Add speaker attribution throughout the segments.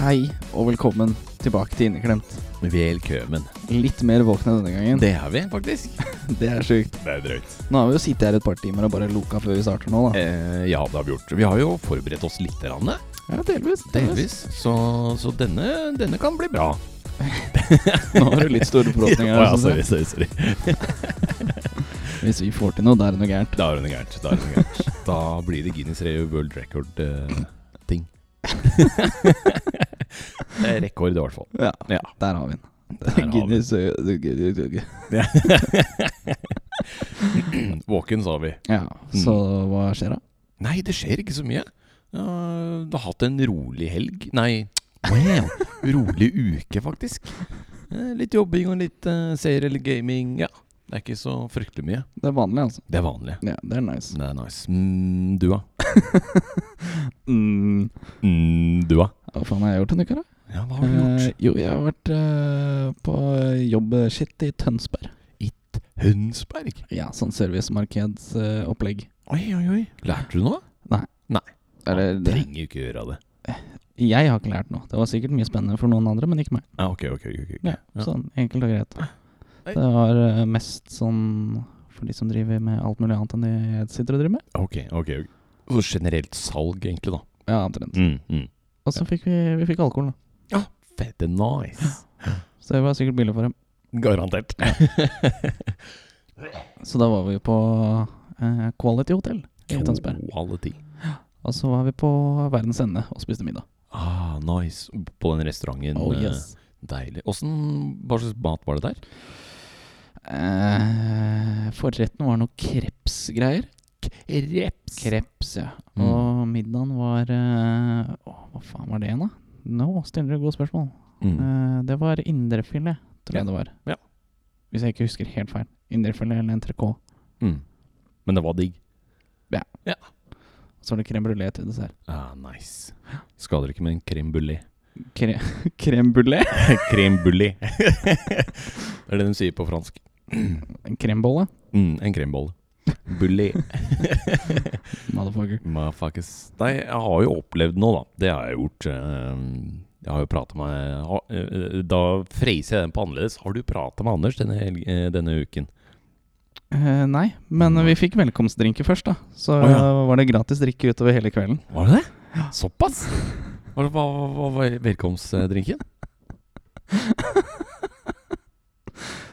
Speaker 1: Hei og velkommen tilbake til Inneklemt.
Speaker 2: Velkommen.
Speaker 1: Litt mer våkne denne gangen.
Speaker 2: Det har vi, faktisk.
Speaker 1: Det er sjukt.
Speaker 2: Det er drøyt.
Speaker 1: Nå har vi jo sittet her et par timer og bare loka før vi starter nå, da.
Speaker 2: Eh, ja, det har vi gjort. Vi har jo forberedt oss litt. Rande,
Speaker 1: Ja, delvis.
Speaker 2: delvis. Så, så denne, denne kan bli bra.
Speaker 1: Nå har du litt store forhåpninger.
Speaker 2: Å ja, altså,
Speaker 1: synes
Speaker 2: sorry,
Speaker 1: jeg.
Speaker 2: sorry, sorry.
Speaker 1: Hvis vi får til noe, da er det noe gærent.
Speaker 2: Da er det noe gærent. Da, er det noe gærent. da blir det Guinness Re- World eh, Record-ting. det er rekord, i hvert fall.
Speaker 1: Ja,
Speaker 2: Ja.
Speaker 1: der har vi den.
Speaker 2: har vi den.
Speaker 1: Guinness ø- ø- ø- ø- ø-
Speaker 2: Våken, sa vi.
Speaker 1: Ja,
Speaker 2: Mm.
Speaker 1: så hva skjer da?
Speaker 2: Nei, det skjer ikke så mye. Eh, du har hatt en rolig helg. Nei, wow, rolig uke, faktisk. Eh, litt jobbing og litt eh, serier eller gaming. Ja, det er ikke så fryktelig mye.
Speaker 1: Det er vanlig, altså.
Speaker 2: Det er vanlig.
Speaker 1: Ja, det er nice.
Speaker 2: Det er nice. Mm, du, da?
Speaker 1: Mm.
Speaker 2: Mm, du, da?
Speaker 1: Hva faen har jeg gjort denne uka, da?
Speaker 2: Ja, hva har du
Speaker 1: Eh,
Speaker 2: gjort?
Speaker 1: jo, jeg har vært eh, på jobb-shit i Tønsberg.
Speaker 2: Eh, Hønsberg?
Speaker 1: Ja, sånn servicemarkedsopplegg.
Speaker 2: Oi, oi, oi. Lærte du noe?
Speaker 1: Eller
Speaker 2: Man
Speaker 1: det-
Speaker 2: Trenger jo ikke gjøre det.
Speaker 1: Jeg har ikke lært noe. Det var sikkert mye spennende for noen andre, men ikke meg.
Speaker 2: Ja, ok, ok. ok, ok.
Speaker 1: Ja,
Speaker 2: Ja.
Speaker 1: Sånn enkelt og greit.
Speaker 2: Nei.
Speaker 1: Det var eh, mest sånn for de som driver med alt mulig annet enn det jeg sitter og driver med.
Speaker 2: Ok, ok, ok. Så generelt salg, egentlig, da.
Speaker 1: Ja, omtrent.
Speaker 2: Mm, mm.
Speaker 1: Og så fikk vi, vi fikk alkohol, da.
Speaker 2: Fette nice.
Speaker 1: Så det var sikkert billig for dem.
Speaker 2: Garantert.
Speaker 1: Så da var vi på eh, Quality Hotel i Tønsberg.
Speaker 2: Quality.
Speaker 1: Og så var vi på Verdens Ende og spiste middag.
Speaker 2: Ah, nice. På den restauranten.
Speaker 1: Oh
Speaker 2: eh,
Speaker 1: yes.
Speaker 2: Deilig. Åssen hva slags mat var det der?
Speaker 1: Eh, forretten var noe krepsgreier.
Speaker 2: Reps.
Speaker 1: Kreps, ja.
Speaker 2: Mm.
Speaker 1: Og middagen var eh, Å, hva faen var det igjen, da? Nå stiller du gode spørsmål.
Speaker 2: Mm.
Speaker 1: Eh, det var indrefilet, tror jeg det var.
Speaker 2: Ja.
Speaker 1: Hvis jeg ikke husker helt feil. Indrefilet eller entrecôte.
Speaker 2: Mm. Men det var digg.
Speaker 1: Så var det crème brulé til dessert.
Speaker 2: Ah, nice. Skader ikke med en crème brulé.
Speaker 1: Cre crème brulé?
Speaker 2: crème brulé. det er det de sier på fransk.
Speaker 1: En krembolle?
Speaker 2: Mm, en krembolle. Bulé.
Speaker 1: Motherfucker.
Speaker 2: Motherfuckers. Nei, jeg har jo opplevd noe, da. Det har jeg gjort. eh, Jeg har jo prata med ha- eh, Da freiser jeg den på annerledes. Har du prata med Anders denne, helg- eh, denne uken?
Speaker 1: Eh, nei, men vi fikk velkomstdrinker først, da. Så
Speaker 2: Å, ja.
Speaker 1: eh, var det gratis drikke utover hele kvelden.
Speaker 2: Var det det? Såpass? Hva hva- hva var velkomstdrinken?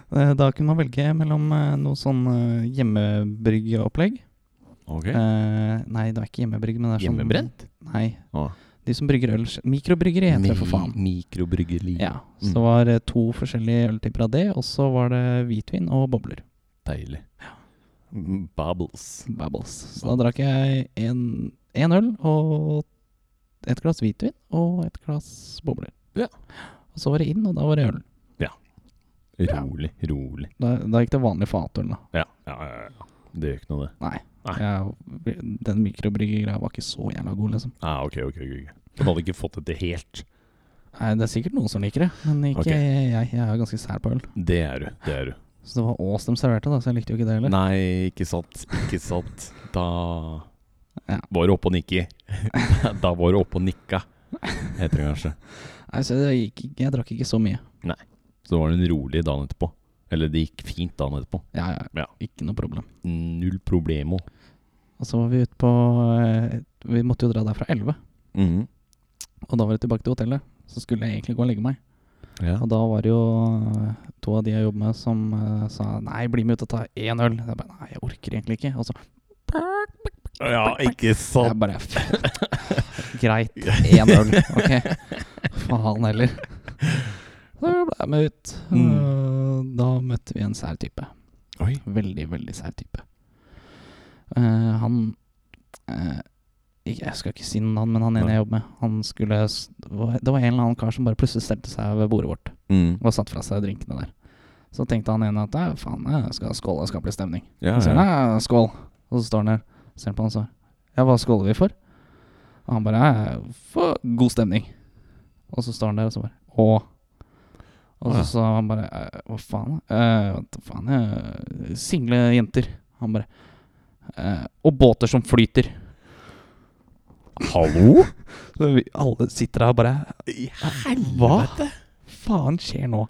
Speaker 1: Eh, da kunne man velge mellom eh, noe sånn eh, hjemmebryggeopplegg.
Speaker 2: Ok.
Speaker 1: Eh, nei, det er ikke hjemmebrygg, men det er sånn
Speaker 2: Hjemmebrent?
Speaker 1: Nei.
Speaker 2: Ah.
Speaker 1: De som brygger øl Mikrobryggeri heter det, for faen.
Speaker 2: Mi mm. mikrobryggeri.
Speaker 1: Ja, Så
Speaker 2: Mm.
Speaker 1: det var eh, to forskjellige øltyper av det, og så var det hvitvin og bobler.
Speaker 2: Deilig. Mm, Bubbles.
Speaker 1: Bubbles. Så da drakk jeg én øl og et glass hvitvin og et glass bobler.
Speaker 2: Ja.
Speaker 1: Og så var det inn, og da var det øl. Ja.
Speaker 2: Rolig, rolig.
Speaker 1: Da, da gikk det vanlig fatøl, da.
Speaker 2: Ja, ja, ja, ja. Det gjør ikke noe, det. Nei.
Speaker 1: Jeg, den mikrobryggegreia var ikke så jævla god, liksom.
Speaker 2: Ah, ok, ok, ok. ok. Du hadde ikke fått det til helt.
Speaker 1: Nei, Det er sikkert noen som liker det, men ikke
Speaker 2: Ok.
Speaker 1: jeg. Jeg er ganske sær på øl.
Speaker 2: Det er du. det er du.
Speaker 1: Så det var Ås de serverte, da, så jeg likte jo ikke det heller.
Speaker 2: Nei, ikke sant. Ikke sant. Da
Speaker 1: Ja.
Speaker 2: var du oppe og nikki. da var du oppe og nikka, heter det kanskje.
Speaker 1: Nei, så det gikk, ikke- jeg drakk ikke så mye.
Speaker 2: Så det var en rolig dag etterpå. Eller det gikk fint dagen etterpå.
Speaker 1: Ja, ja,
Speaker 2: Ja.
Speaker 1: Ikke noe problem.
Speaker 2: Null problemo.
Speaker 1: Og så var vi ute på eh, Vi måtte jo dra derfra 11,
Speaker 2: Mhm.
Speaker 1: og da var det tilbake til hotellet. Så skulle jeg egentlig gå og legge meg.
Speaker 2: Ja.
Speaker 1: Og da var det jo eh, to av de jeg jobber med, som eh, sa nei, bli med ut og ta én øl. Jeg bare, nei, jeg orker egentlig ikke. Og så
Speaker 2: ja, ikke sant.
Speaker 1: jeg bare Greit, én øl. Ok. Faen heller. Så ble jeg med ut. Eh, Da møtte vi en sær type.
Speaker 2: Oi.
Speaker 1: Veldig, veldig sær type. Eh, han eh, ikke- Jeg skal ikke si noe navn, men han ene
Speaker 2: Nei.
Speaker 1: jeg jobber med Han skulle s- Det var det var en eller annen kar som bare plutselig stelte seg ved bordet vårt
Speaker 2: Mm.
Speaker 1: og satte fra seg drinkene der. Så tenkte han ene at «Nei, faen, jeg skal skåle, det skal bli stemning.
Speaker 2: Ja,
Speaker 1: Så sier han
Speaker 2: ja.
Speaker 1: «Nei, skål, og så står han der ser han på han og sier ja, hva skåler vi for? Og han bare «Nei, for god stemning. Og så står han der og så bare å. Og
Speaker 2: Ja.
Speaker 1: så sa han bare «Eh, hva faen? eh, hva faen eh, single jenter. Han bare eh, og båter som flyter.
Speaker 2: Hallo?
Speaker 1: Så vi alle sitter der og bare
Speaker 2: I
Speaker 1: Hva
Speaker 2: helvete!
Speaker 1: faen skjer nå?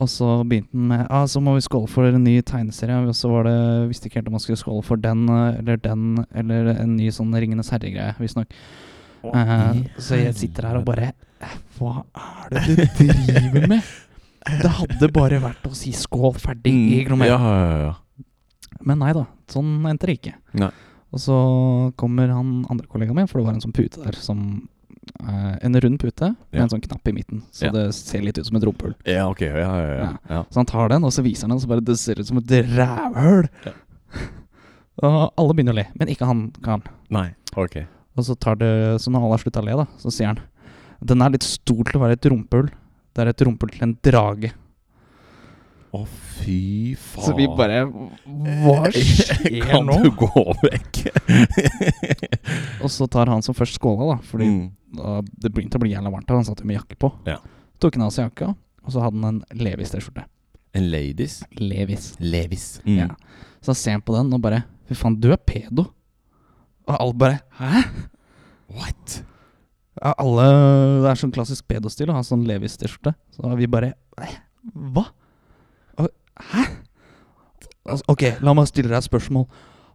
Speaker 1: Og så begynte han med ah, så må vi skåle for en ny tegneserie. Og så var det, visste ikke helt om man skulle skåle for den eh, eller den eller en ny sånn Ringenes herre-greie, visstnok. Eh, så jeg sitter her og bare eh, Hva er det du driver med? Det hadde bare vært å si skål, ferdig, ikke noe mer.
Speaker 2: Mm. Ja, ja, ja.
Speaker 1: Men nei da, sånn endte det ikke.
Speaker 2: Nei.
Speaker 1: Og så kommer han andre kollegaen min, for det var en sånn pute der som eh, En rund pute med
Speaker 2: Ja.
Speaker 1: en sånn knapp i midten, så
Speaker 2: Ja.
Speaker 1: det ser litt ut som et rumpehull.
Speaker 2: ja. Ja, ok. Ja, ja, ja. ja.
Speaker 1: Så han tar den, og så viser han den, og så bare Det ser ut som et rævhull!
Speaker 2: Ja.
Speaker 1: og alle begynner å le, men ikke han karen.
Speaker 2: Nei, ok.
Speaker 1: Og så tar det Så når alle har slutta å le, da, så sier han Den er litt stor til å være et rumpehull. Det er et rumpehull til en drage.
Speaker 2: Å, fy faen.
Speaker 1: Så vi bare Hva skjer
Speaker 2: Kan
Speaker 1: nå?
Speaker 2: du gå vekk?
Speaker 1: Og så tar han som først skåla, da, fordi
Speaker 2: Mm.
Speaker 1: da det begynte å bli jævla varmt, og han satt jo med jakke på.
Speaker 2: Ja.
Speaker 1: Tok han av seg jakka, og så hadde han en Levis-T-skjorte.
Speaker 2: En ladies?
Speaker 1: Levis.
Speaker 2: Levis.
Speaker 1: Ja. Så ser han på den og bare Fy faen, du er pedo. Og alle bare Hæ?
Speaker 2: What?
Speaker 1: Ja, alle Det er sånn klassisk pedostil å ha sånn Levis-T-skjorte. Så vi bare «Nei, Hva? Og- Hæ? Altså, ok, la meg stille deg et spørsmål.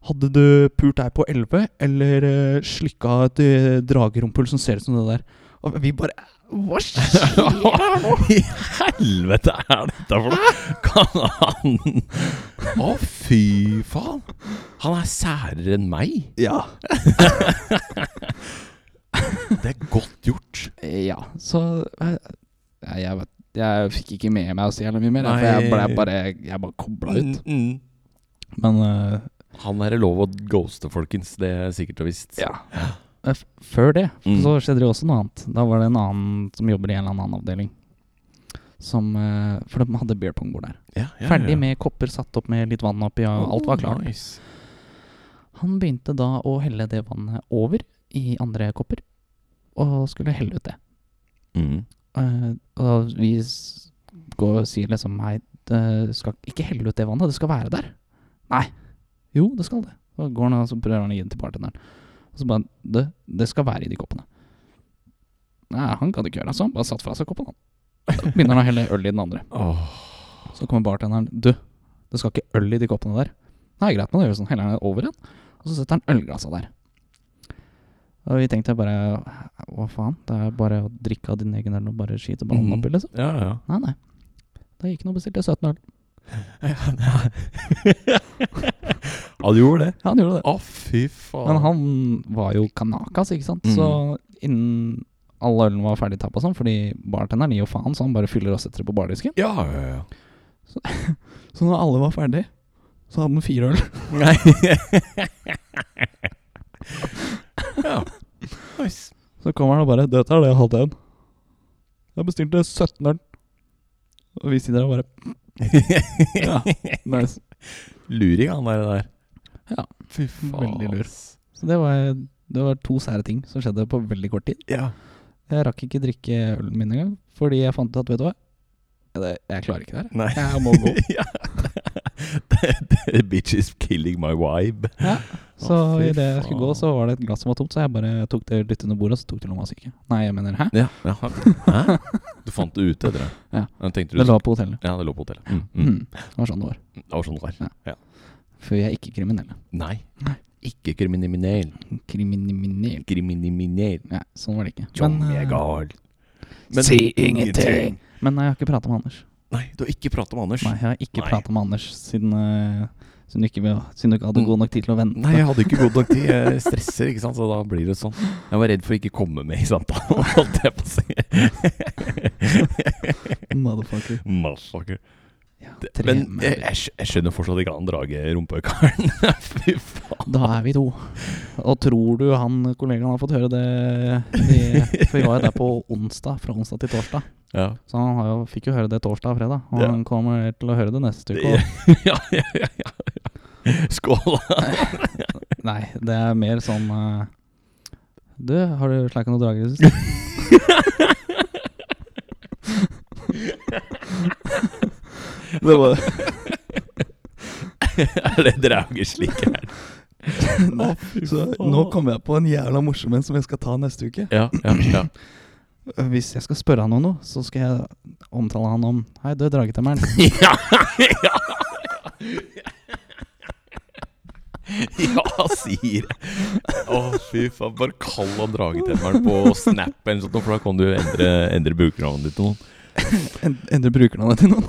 Speaker 1: Hadde du pult deg på 11, eller eh, slikka et eh, dragerumpull som ser ut som det der? Og vi bare Hva skjer her nå?
Speaker 2: I helvete er dette for noe? Kan han Å, fy faen! Han er særere enn meg.
Speaker 1: Ja.
Speaker 2: Det er godt gjort.
Speaker 1: Ja, så eh, Nei, jeg, vet, jeg fikk ikke med meg å si jævlig mye mer. jeg, For
Speaker 2: Nei.
Speaker 1: jeg ble bare, jeg bare kobla ut.
Speaker 2: Mm, mm.
Speaker 1: Men eh,
Speaker 2: Han er det lov å ghoste, folkens. Det er sikkert og visst.
Speaker 1: ja. Eh, f- Før det
Speaker 2: Mm.
Speaker 1: så skjedde det jo også noe annet. Da var det en annen som jobber i en eller annen avdeling. Som, eh, for de hadde beer pong-bord der.
Speaker 2: Ja, ja,
Speaker 1: Ferdig
Speaker 2: ja. Oh,
Speaker 1: med kopper satt opp med litt vann oppi, og alt var klart.
Speaker 2: Nice.
Speaker 1: Han begynte da å helle det vannet over i andre kopper, og skulle helle ut det.
Speaker 2: Mm.
Speaker 1: Eh, og vi s- går og sier liksom Nei, det skal ikke helle ut det vannet. Det skal være der. Nei. Jo, det skal det. Så går han og så prøver han å gi det til bartenderen. Og så bare Det, det skal være i de koppene. Nei, han kan ikke gjøre det, så han bare satte fra seg koppen, han. Så begynner han å helle øl i den andre.
Speaker 2: Åh.
Speaker 1: Så kommer bartenderen. Du, det skal ikke øl i de koppene der. Nei, greit, men det gjør sånn. Heller han det over igjen, og så setter han ølglassa der. Og vi tenkte bare Hva faen? Det er bare å drikke av din egen øl og bare skyte ballen
Speaker 2: Mhm.
Speaker 1: oppi, liksom.
Speaker 2: Ja, ja.
Speaker 1: Nei, nei. Da gikk han og bestilte 17 øl.
Speaker 2: Ja, du gjorde det.
Speaker 1: Han gjorde
Speaker 2: Å, fy faen.
Speaker 1: Men han var jo kanakas, ikke sant? Så innen alle ølene var ferdig tappa sånn, fordi bartenderen gir jo faen, så han bare fyller og setter det på bardisken.
Speaker 2: Ja, ja, ja.
Speaker 1: Så når alle var ferdig, så hadde han fire øl.
Speaker 2: Nei. ja. Nice.
Speaker 1: Så kommer han og bare 'Dette er det jeg hadde igjen'. Jeg bestilte 17 øl. Og vi sitter der og bare Ja, nice.
Speaker 2: Luring, han der. der.
Speaker 1: Ja.
Speaker 2: Fy faen.
Speaker 1: Veldig lur. Så det var, det var to sære ting som skjedde på veldig kort tid.
Speaker 2: Ja.
Speaker 1: Jeg rakk ikke drikke ølen min engang, fordi jeg fant ut at vet du hva det, Jeg klarer ikke det her.
Speaker 2: Nei.
Speaker 1: Jeg må gå.
Speaker 2: ja. The, the bitch is killing my vibe.
Speaker 1: Ja. Så
Speaker 2: Å, fy
Speaker 1: i idet jeg skulle gå,
Speaker 2: faen.
Speaker 1: så var det et glass som var tomt, så jeg bare tok det litt under bordet, og så tok det lomma syke. Nei, jeg mener hæ?
Speaker 2: Ja. ja. Hæ? Du fant det ute etter det?
Speaker 1: Ja.
Speaker 2: Jeg tenkte du
Speaker 1: Det lå på hotellet.
Speaker 2: Ja, det lå på hotellet. Mm. Mm.
Speaker 1: Mm. Det var sånn det var.
Speaker 2: Det var sånn det var.
Speaker 1: For vi er ikke kriminelle.
Speaker 2: Nei.
Speaker 1: Nei.
Speaker 2: Ikke kriminell.
Speaker 1: Kriminelle.
Speaker 2: Kriminell.
Speaker 1: Ja, sånn var det ikke.
Speaker 2: John
Speaker 1: eh,
Speaker 2: Megaard.
Speaker 1: Si ingenting. men eh, jeg har ikke prata med Anders.
Speaker 2: Nei, du har ikke pratet med Anders.
Speaker 1: Nei, jeg har ikke
Speaker 2: Nei.
Speaker 1: prata med Anders siden, eh, siden, du ikke, vil- siden du ikke hadde
Speaker 2: Mm.
Speaker 1: god nok tid til å vente.
Speaker 2: Nei, jeg hadde ikke god nok tid. Jeg stresser, ikke sant, så da blir det sånn. Jeg var redd for å ikke komme med i samtalen, holdt jeg på å si.
Speaker 1: Motherfucker.
Speaker 2: Motherfucker.
Speaker 1: Ja,
Speaker 2: Det-
Speaker 1: tre
Speaker 2: Men jeg,
Speaker 1: merder.
Speaker 2: jeg, skj- jeg skjønner fortsatt ikke han dragerumpeøkaren. Fy faen.
Speaker 1: Da er vi to. Og tror du han kollegaen har fått høre det i- For vi var jo der på onsdag, fra onsdag til torsdag.
Speaker 2: Ja.
Speaker 1: Så han har jo, fikk jo høre det torsdag og fredag. Og
Speaker 2: Ja.
Speaker 1: han kommer til å høre det neste uke.
Speaker 2: Ja,
Speaker 1: og-
Speaker 2: ja, ja, ja, ja. Skål.
Speaker 1: Nei, det er mer sånn eh, Du, har du slakka noen drager i det siste?
Speaker 2: Det var Er det drageslikk her?
Speaker 1: Nei, Så nå kommer jeg på en jævla morsom en som jeg skal ta neste uke.
Speaker 2: Ja, ja, ja.
Speaker 1: Eh, Hvis jeg skal spørre han om noe, så skal jeg omtale han om Hei, du, dragetemmeren.
Speaker 2: ja, ja. Ja, sier jeg. Å, fy faen. Bare kall han dragetemmeren på Snap, eller sånt, for da kan du endre, endre brukernavnet ditt. Noen.
Speaker 1: En- Endre brukernavnet til noen.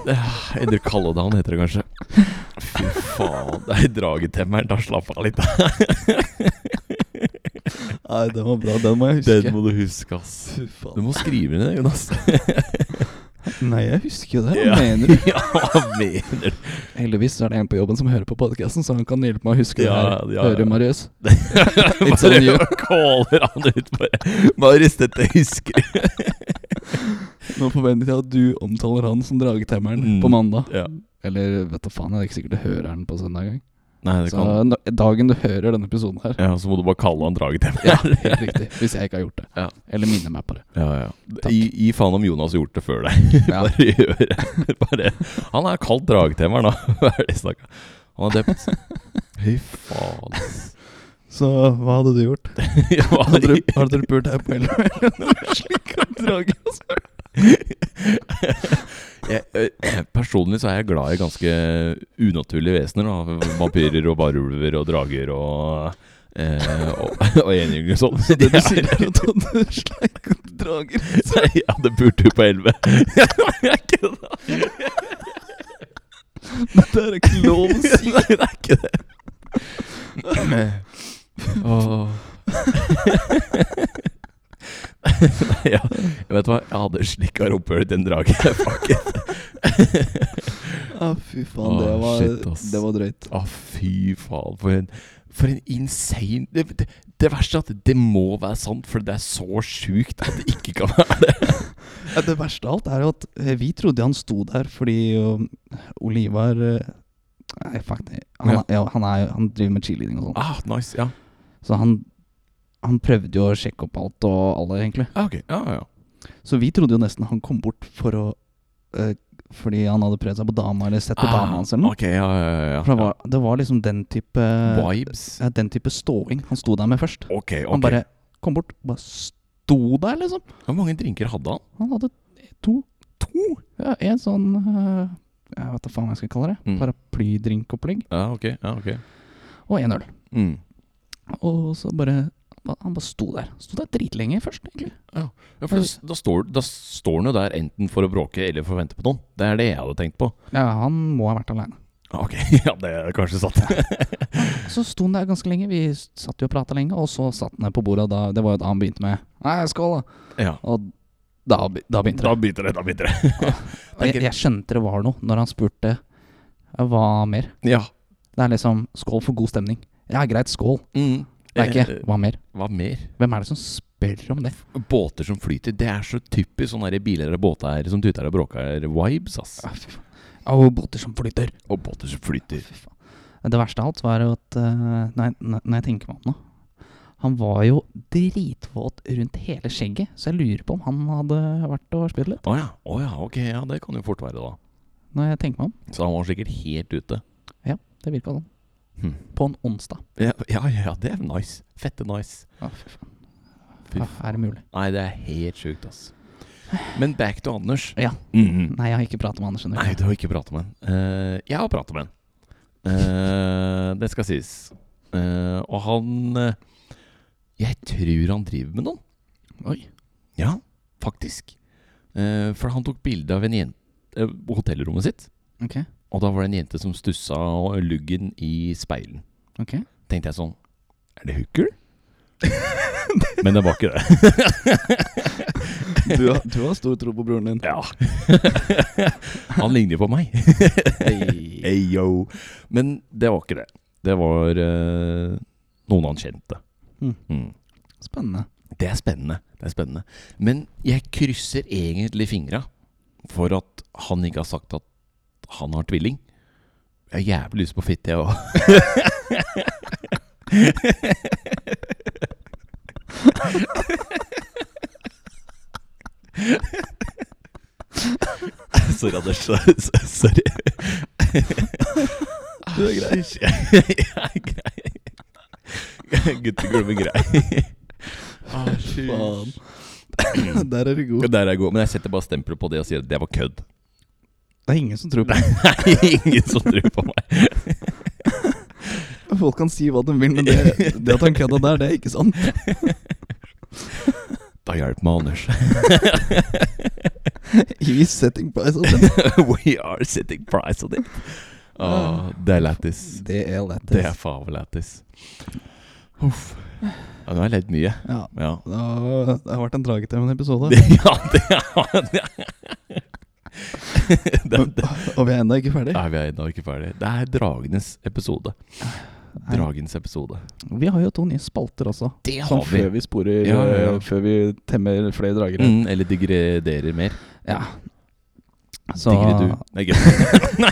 Speaker 2: Endre kallenavn, heter det kanskje. Fy faen. Det er dragetemmeren. Da slapp av litt.
Speaker 1: Nei, den var bra. Den må jeg huske.
Speaker 2: Den må du huske, ass.
Speaker 1: Fy
Speaker 2: Du
Speaker 1: faen.
Speaker 2: må skrive ned det, Jonas.
Speaker 1: Nei, jeg husker jo det.
Speaker 2: Ja.
Speaker 1: Hva mener du?
Speaker 2: Ja, hva mener du?
Speaker 1: Heldigvis så er det en på jobben som hører på podkasten, så han kan hjelpe meg å huske
Speaker 2: Ja,
Speaker 1: det her.
Speaker 2: ja, ja.
Speaker 1: Hører du, Marius? It's on you.
Speaker 2: Bare caller han ut, bare. Marius, dette husker jeg.
Speaker 1: Nå forventer jeg at du omtaler han som dragetemmeren
Speaker 2: Mm.
Speaker 1: på mandag.
Speaker 2: Ja.
Speaker 1: Eller vet du faen, jeg er ikke sikkert du hører han på søndag engang.
Speaker 2: Nei, det
Speaker 1: Så
Speaker 2: kan
Speaker 1: da- dagen du hører denne episoden her
Speaker 2: Ja, så må du bare kalle han dragetemmeren.
Speaker 1: Ja, helt riktig. Hvis jeg ikke har gjort det.
Speaker 2: Ja.
Speaker 1: Eller minner meg på det.
Speaker 2: Ja, ja.
Speaker 1: Takk.
Speaker 2: Gi gi faen om Jonas har gjort det før deg.
Speaker 1: Ja.
Speaker 2: Bare gjør det. Bare. Han er kalt dragetemmeren, da. Hva er det jeg snakker om? Han er døpt. Fy faen. ass.
Speaker 1: Så hva hadde du gjort?
Speaker 2: Ja, hva
Speaker 1: Hadde
Speaker 2: i-
Speaker 1: du, hadde du pult deg på eller slik at dragen
Speaker 2: jeg, eh, personlig så er jeg glad i ganske unaturlige vesener. Da. Vampyrer og varulver og drager og eh, og, og enhjørninger og sånn.
Speaker 1: Så det du sier er at du hadde sleik opp drager?
Speaker 2: Jeg hadde pult ut på elleve. Jeg kødda.
Speaker 1: Det er ikke lov å si!
Speaker 2: Nei, det er ikke det. Åh. Nei, ja. Vet du hva, jeg hadde slikka rumpehullet til en drage. Fuck it.
Speaker 1: Ja, fy faen, det
Speaker 2: Åh,
Speaker 1: var,
Speaker 2: shit, ass.
Speaker 1: det var drøyt.
Speaker 2: Å, fy faen. For en, for en insane det, det, det verste er at det må være sant, for det er så sjukt at det ikke kan være det.
Speaker 1: Ja, Det verste av alt er jo at eh, vi trodde han sto der fordi um, Olivar eh, Nei, fuck det. Han,
Speaker 2: Ja.
Speaker 1: er- ja, han, er, jo- han driver med cheerleading og sånn.
Speaker 2: Ah, nice. Ja,
Speaker 1: Så han, han prøvde jo å sjekke opp alt og alle, egentlig.
Speaker 2: ah, ok. Ja, ja.
Speaker 1: Så vi trodde jo nesten han kom bort for å eh, Fordi han hadde prøvd seg på dama eller sett på
Speaker 2: Ah,
Speaker 1: dama hans eller noe.
Speaker 2: Ok, ja, ja, ja, ja.
Speaker 1: For det var, det var liksom den type
Speaker 2: Vibes.
Speaker 1: ja, Den type ståing han sto der med først.
Speaker 2: Ok, ok.
Speaker 1: Han bare kom bort, bare sto der, liksom.
Speaker 2: Hvor mange drinker hadde han?
Speaker 1: Han hadde to. To? Ja, en sånn eh, Jeg vet da faen hva jeg skal kalle det.
Speaker 2: Mm.
Speaker 1: Paraplydrinkopplegg.
Speaker 2: Ja, ok. Ja, ok.
Speaker 1: Og en øl.
Speaker 2: Mm.
Speaker 1: Og så bare Han bare sto der. Sto der dritlenge først, egentlig.
Speaker 2: Ja, for da, da, står, da står han jo der enten for å bråke eller for å vente på noen. Det er det jeg hadde tenkt på.
Speaker 1: Ja, han må ha vært aleine.
Speaker 2: Ok, ja, det er kanskje sant.
Speaker 1: Så sto han der ganske lenge. Vi satt jo og prata lenge, og så satt han ned på bordet. og Da, det var jo da han begynte med Nei, skål, da.
Speaker 2: Ja,
Speaker 1: Og da, be- da begynte det.
Speaker 2: da begynte det, da begynte det.
Speaker 1: Og jeg, jeg skjønte det var noe når han spurte eh, hva mer.
Speaker 2: Ja.
Speaker 1: Det er liksom skål for god stemning. Ja, greit, skål.
Speaker 2: Mm.
Speaker 1: Det er
Speaker 2: Eh,
Speaker 1: ikke hva mer.
Speaker 2: Hva mer?
Speaker 1: Hvem er det som spør om det?
Speaker 2: Båter som flyter. Det er så typisk sånne der biler og båter som tuter og bråker vibes, ass.
Speaker 1: Ja, fy faen. Au, båter som flyter.
Speaker 2: Og båter som flyter.
Speaker 1: Fy faen. Det verste av alt var jo at eh, nei, nei, Når jeg tenker meg om nå Han var jo dritvåt rundt hele skjegget, så jeg lurer på om han hadde vært og spydd litt.
Speaker 2: Å ja, å ja, ok, ja, det kan jo fort være, da.
Speaker 1: Når jeg tenker meg om.
Speaker 2: Så han var sikkert helt ute.
Speaker 1: Det virka sånn.
Speaker 2: Hm.
Speaker 1: På en onsdag.
Speaker 2: Ja, ja, ja, det er nice. Fette nice.
Speaker 1: Ja, fy faen.
Speaker 2: Fy
Speaker 1: Ja, er det mulig?
Speaker 2: Nei, det er helt sjukt, ass. Men back to Anders.
Speaker 1: Ja.
Speaker 2: Mhm.
Speaker 1: Nei, jeg har ikke pratet med Anders ennå.
Speaker 2: Nei, du har ikke pratet med han. Eh, jeg har pratet med han. Eh, det skal sies. Eh, og han eh, Jeg tror han driver med noen.
Speaker 1: Oi.
Speaker 2: Ja, faktisk. Eh, for han tok bilde av en jente eh, på hotellrommet sitt.
Speaker 1: Ok.
Speaker 2: Og da var det en jente som stussa og luggen i speilen.
Speaker 1: Ok.
Speaker 2: Tenkte jeg sånn Er det hooker? Men det var ikke det.
Speaker 1: Du, har- du har stor tro på broren din.
Speaker 2: ja. han ligner på meg.
Speaker 1: Hey.
Speaker 2: Hey, yo. Men det var ikke det. Det var eh, noen han kjente.
Speaker 1: Mm.
Speaker 2: Mm.
Speaker 1: Spennende.
Speaker 2: Det er spennende. Det er spennende. Men jeg krysser egentlig fingra for at han ikke har sagt at han har tvilling. Jeg har jævlig lyst på fitte, jeg òg. Sorry, Anders. Sorry. Du er grei. Jeg er grei. Guttegulvet grei.
Speaker 1: Ah,
Speaker 2: Faen.
Speaker 1: Der er du god.
Speaker 2: Der er jeg god. Men jeg setter bare stempelet på det og sier at det var kødd.
Speaker 1: Det er ingen som tror på det.
Speaker 2: Nei, ingen som tror på meg.
Speaker 1: Folk kan si hva de vil, men det, det at han kødda der, det er ikke sant.
Speaker 2: Da hjelp meg, Anders.
Speaker 1: I setting price of
Speaker 2: We are setting price on it. Åh, det er lættis.
Speaker 1: Det er lættis.
Speaker 2: Det er faen meg lættis. Uff. Ja, nå har jeg ledd mye.
Speaker 1: Ja.
Speaker 2: Ja.
Speaker 1: Det har, det har vært en dragetømmende episode.
Speaker 2: Det, ja, det er det. er- det, det.
Speaker 1: Og vi er ennå ikke ferdig.
Speaker 2: Nei, vi er ennå ikke ferdig. Det er dragenes episode.
Speaker 1: Nei.
Speaker 2: Dragens episode.
Speaker 1: Vi har jo to nye spalter også.
Speaker 2: Det
Speaker 1: Sånn
Speaker 2: vi.
Speaker 1: før vi sporer
Speaker 2: Ja, ja, ja.
Speaker 1: eh, Før vi temmer flere drager.
Speaker 2: Mm, eller degraderer mer.
Speaker 1: Ja. Så
Speaker 2: Digger du? Nei, kødda.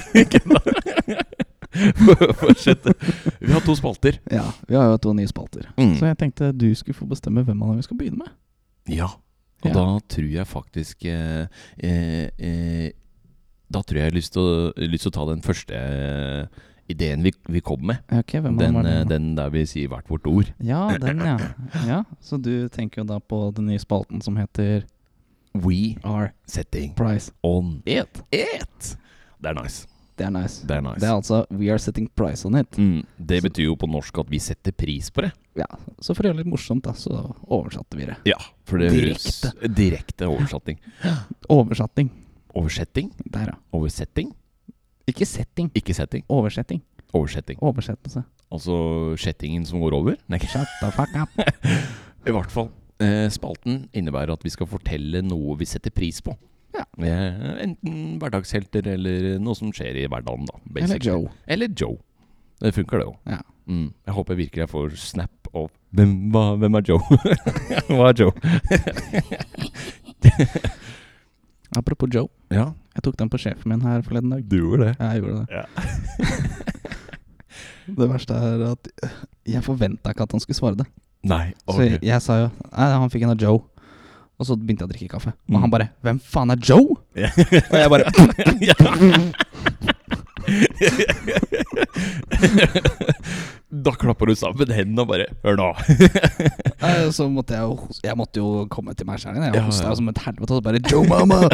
Speaker 2: Nei, kødda. Fortsett. Vi har to spalter.
Speaker 1: Ja, vi har jo to nye spalter.
Speaker 2: Mm.
Speaker 1: Så jeg tenkte du skulle få bestemme hvem av dem vi skal begynne med.
Speaker 2: Ja. Og
Speaker 1: Ja.
Speaker 2: da tror jeg faktisk eh, eh, eh, Da tror jeg jeg har lyst til å, lyst til å ta den første eh, ideen vi, vi kom med.
Speaker 1: Ok, hvem av dem
Speaker 2: Den,
Speaker 1: var det
Speaker 2: eh,
Speaker 1: nå?
Speaker 2: den der vi sier hvert vårt ord.
Speaker 1: Ja, den, ja. ja. Så du tenker jo da på den nye spalten som heter
Speaker 2: We
Speaker 1: R
Speaker 2: setting
Speaker 1: Price.
Speaker 2: on it. it. Det er nice.
Speaker 1: Det er nice.
Speaker 2: Det er nice.
Speaker 1: Det er altså We are setting price on it.
Speaker 2: Mm, det betyr jo på norsk at vi setter pris på det.
Speaker 1: Ja, Så for å gjøre det litt morsomt, da, så oversatte vi det.
Speaker 2: Ja, for det høres
Speaker 1: Direkte.
Speaker 2: Direkte oversetting.
Speaker 1: Oversetting.
Speaker 2: Oversetting?
Speaker 1: Der, ja.
Speaker 2: Oversetting?
Speaker 1: Ikke setting.
Speaker 2: Ikke setting.
Speaker 1: Oversetting.
Speaker 2: Oversetting.
Speaker 1: Oversettelse.
Speaker 2: Altså settingen som går over? Nei,
Speaker 1: Shut the fuck up.
Speaker 2: I hvert fall. Eh, spalten innebærer at vi skal fortelle noe vi setter pris på.
Speaker 1: Ja.
Speaker 2: Eh, enten hverdagshelter eller noe som skjer i hverdagen, da.
Speaker 1: Eller
Speaker 2: basically.
Speaker 1: Joe.
Speaker 2: Eller Joe. Det funker, det òg.
Speaker 1: Ja.
Speaker 2: Mm. Jeg håper virkelig jeg får snap og Hvem, hva, hvem er Joe? hva er Joe?
Speaker 1: Apropos Joe.
Speaker 2: Ja,
Speaker 1: Jeg tok den på sjefen min her forleden dag.
Speaker 2: du gjorde det.
Speaker 1: Ja, Jeg gjorde det.
Speaker 2: Ja.
Speaker 1: det verste er at jeg forventa ikke at han skulle svare det.
Speaker 2: Nei, ok.
Speaker 1: Så jeg, jeg sa jo Nei, han fikk en av Joe. Og så begynte jeg å drikke kaffe. Og
Speaker 2: Mm.
Speaker 1: han bare 'Hvem faen er Joe?'
Speaker 2: Ja.
Speaker 1: Og jeg bare
Speaker 2: Ja. da klapper du sammen hendene og bare Hør nå.
Speaker 1: Eh, Så måtte jeg jo hos- Jeg måtte jo komme til meg sjæl igjen.
Speaker 2: Ja,
Speaker 1: Jeg
Speaker 2: ja.
Speaker 1: hosta jo som et helvete. Og så bare 'Joe, mamma'!
Speaker 2: Å,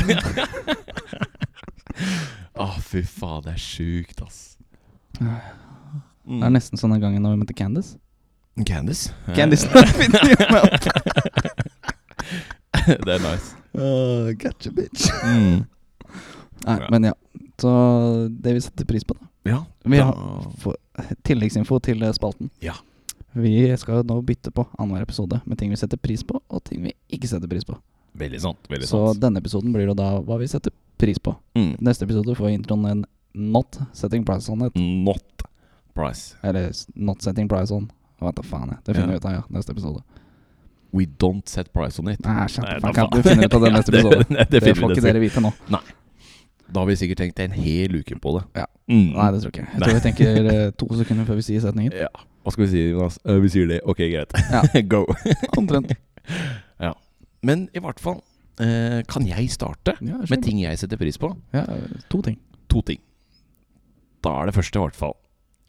Speaker 2: Ah, fy faen, det er sjukt, ass.
Speaker 1: Det er nesten sånn den gangen da vi møtte Candice.
Speaker 2: Mm. Candice.
Speaker 1: Candice
Speaker 2: det er nice.
Speaker 1: uh, Gotcha, bitch.
Speaker 2: Mm.
Speaker 1: Nei,
Speaker 2: Ja.
Speaker 1: men ja. Så det vi setter pris på, da.
Speaker 2: Ja.
Speaker 1: Vi
Speaker 2: da-
Speaker 1: For, tilleggsinfo til eh, spalten.
Speaker 2: Ja.
Speaker 1: Vi skal jo nå bytte på annenhver episode med ting vi setter pris på, og ting vi ikke setter pris på.
Speaker 2: Veldig sant. Veldig
Speaker 1: Så
Speaker 2: sant.
Speaker 1: denne episoden blir jo da hva vi setter pris på.
Speaker 2: Mm.
Speaker 1: Neste episode får introen en Not setting price on it.
Speaker 2: Not price.
Speaker 1: Eller s- Not setting price on. Hva da faen, jeg. Det finner vi
Speaker 2: Ja.
Speaker 1: ut av ja, neste episode.
Speaker 2: We don't set price on it.
Speaker 1: Nei, shut
Speaker 2: Nei,
Speaker 1: the
Speaker 2: da
Speaker 1: fuck up.
Speaker 2: faen.
Speaker 1: Du finner ut av det neste
Speaker 2: Ja,
Speaker 1: episode.
Speaker 2: det,
Speaker 1: Det,
Speaker 2: det, det
Speaker 1: får
Speaker 2: finner
Speaker 1: ikke
Speaker 2: vi
Speaker 1: dere vite nå.
Speaker 2: Da har vi sikkert tenkt en hel uke på det.
Speaker 1: Ja.
Speaker 2: Mm.
Speaker 1: Nei, det tror jeg ikke. Jeg tror vi tenker eh, to sekunder før vi sier setningen.
Speaker 2: Ja. Hva skal vi si, Jonas? Eh, Vi sier det. Ok, greit.
Speaker 1: Ja.
Speaker 2: Go.
Speaker 1: Omtrent.
Speaker 2: Men i hvert fall, eh, kan jeg starte
Speaker 1: Ja, kjør
Speaker 2: med
Speaker 1: på.
Speaker 2: ting jeg setter pris på?
Speaker 1: Ja, to ting.
Speaker 2: To ting. Da er det første, i hvert fall.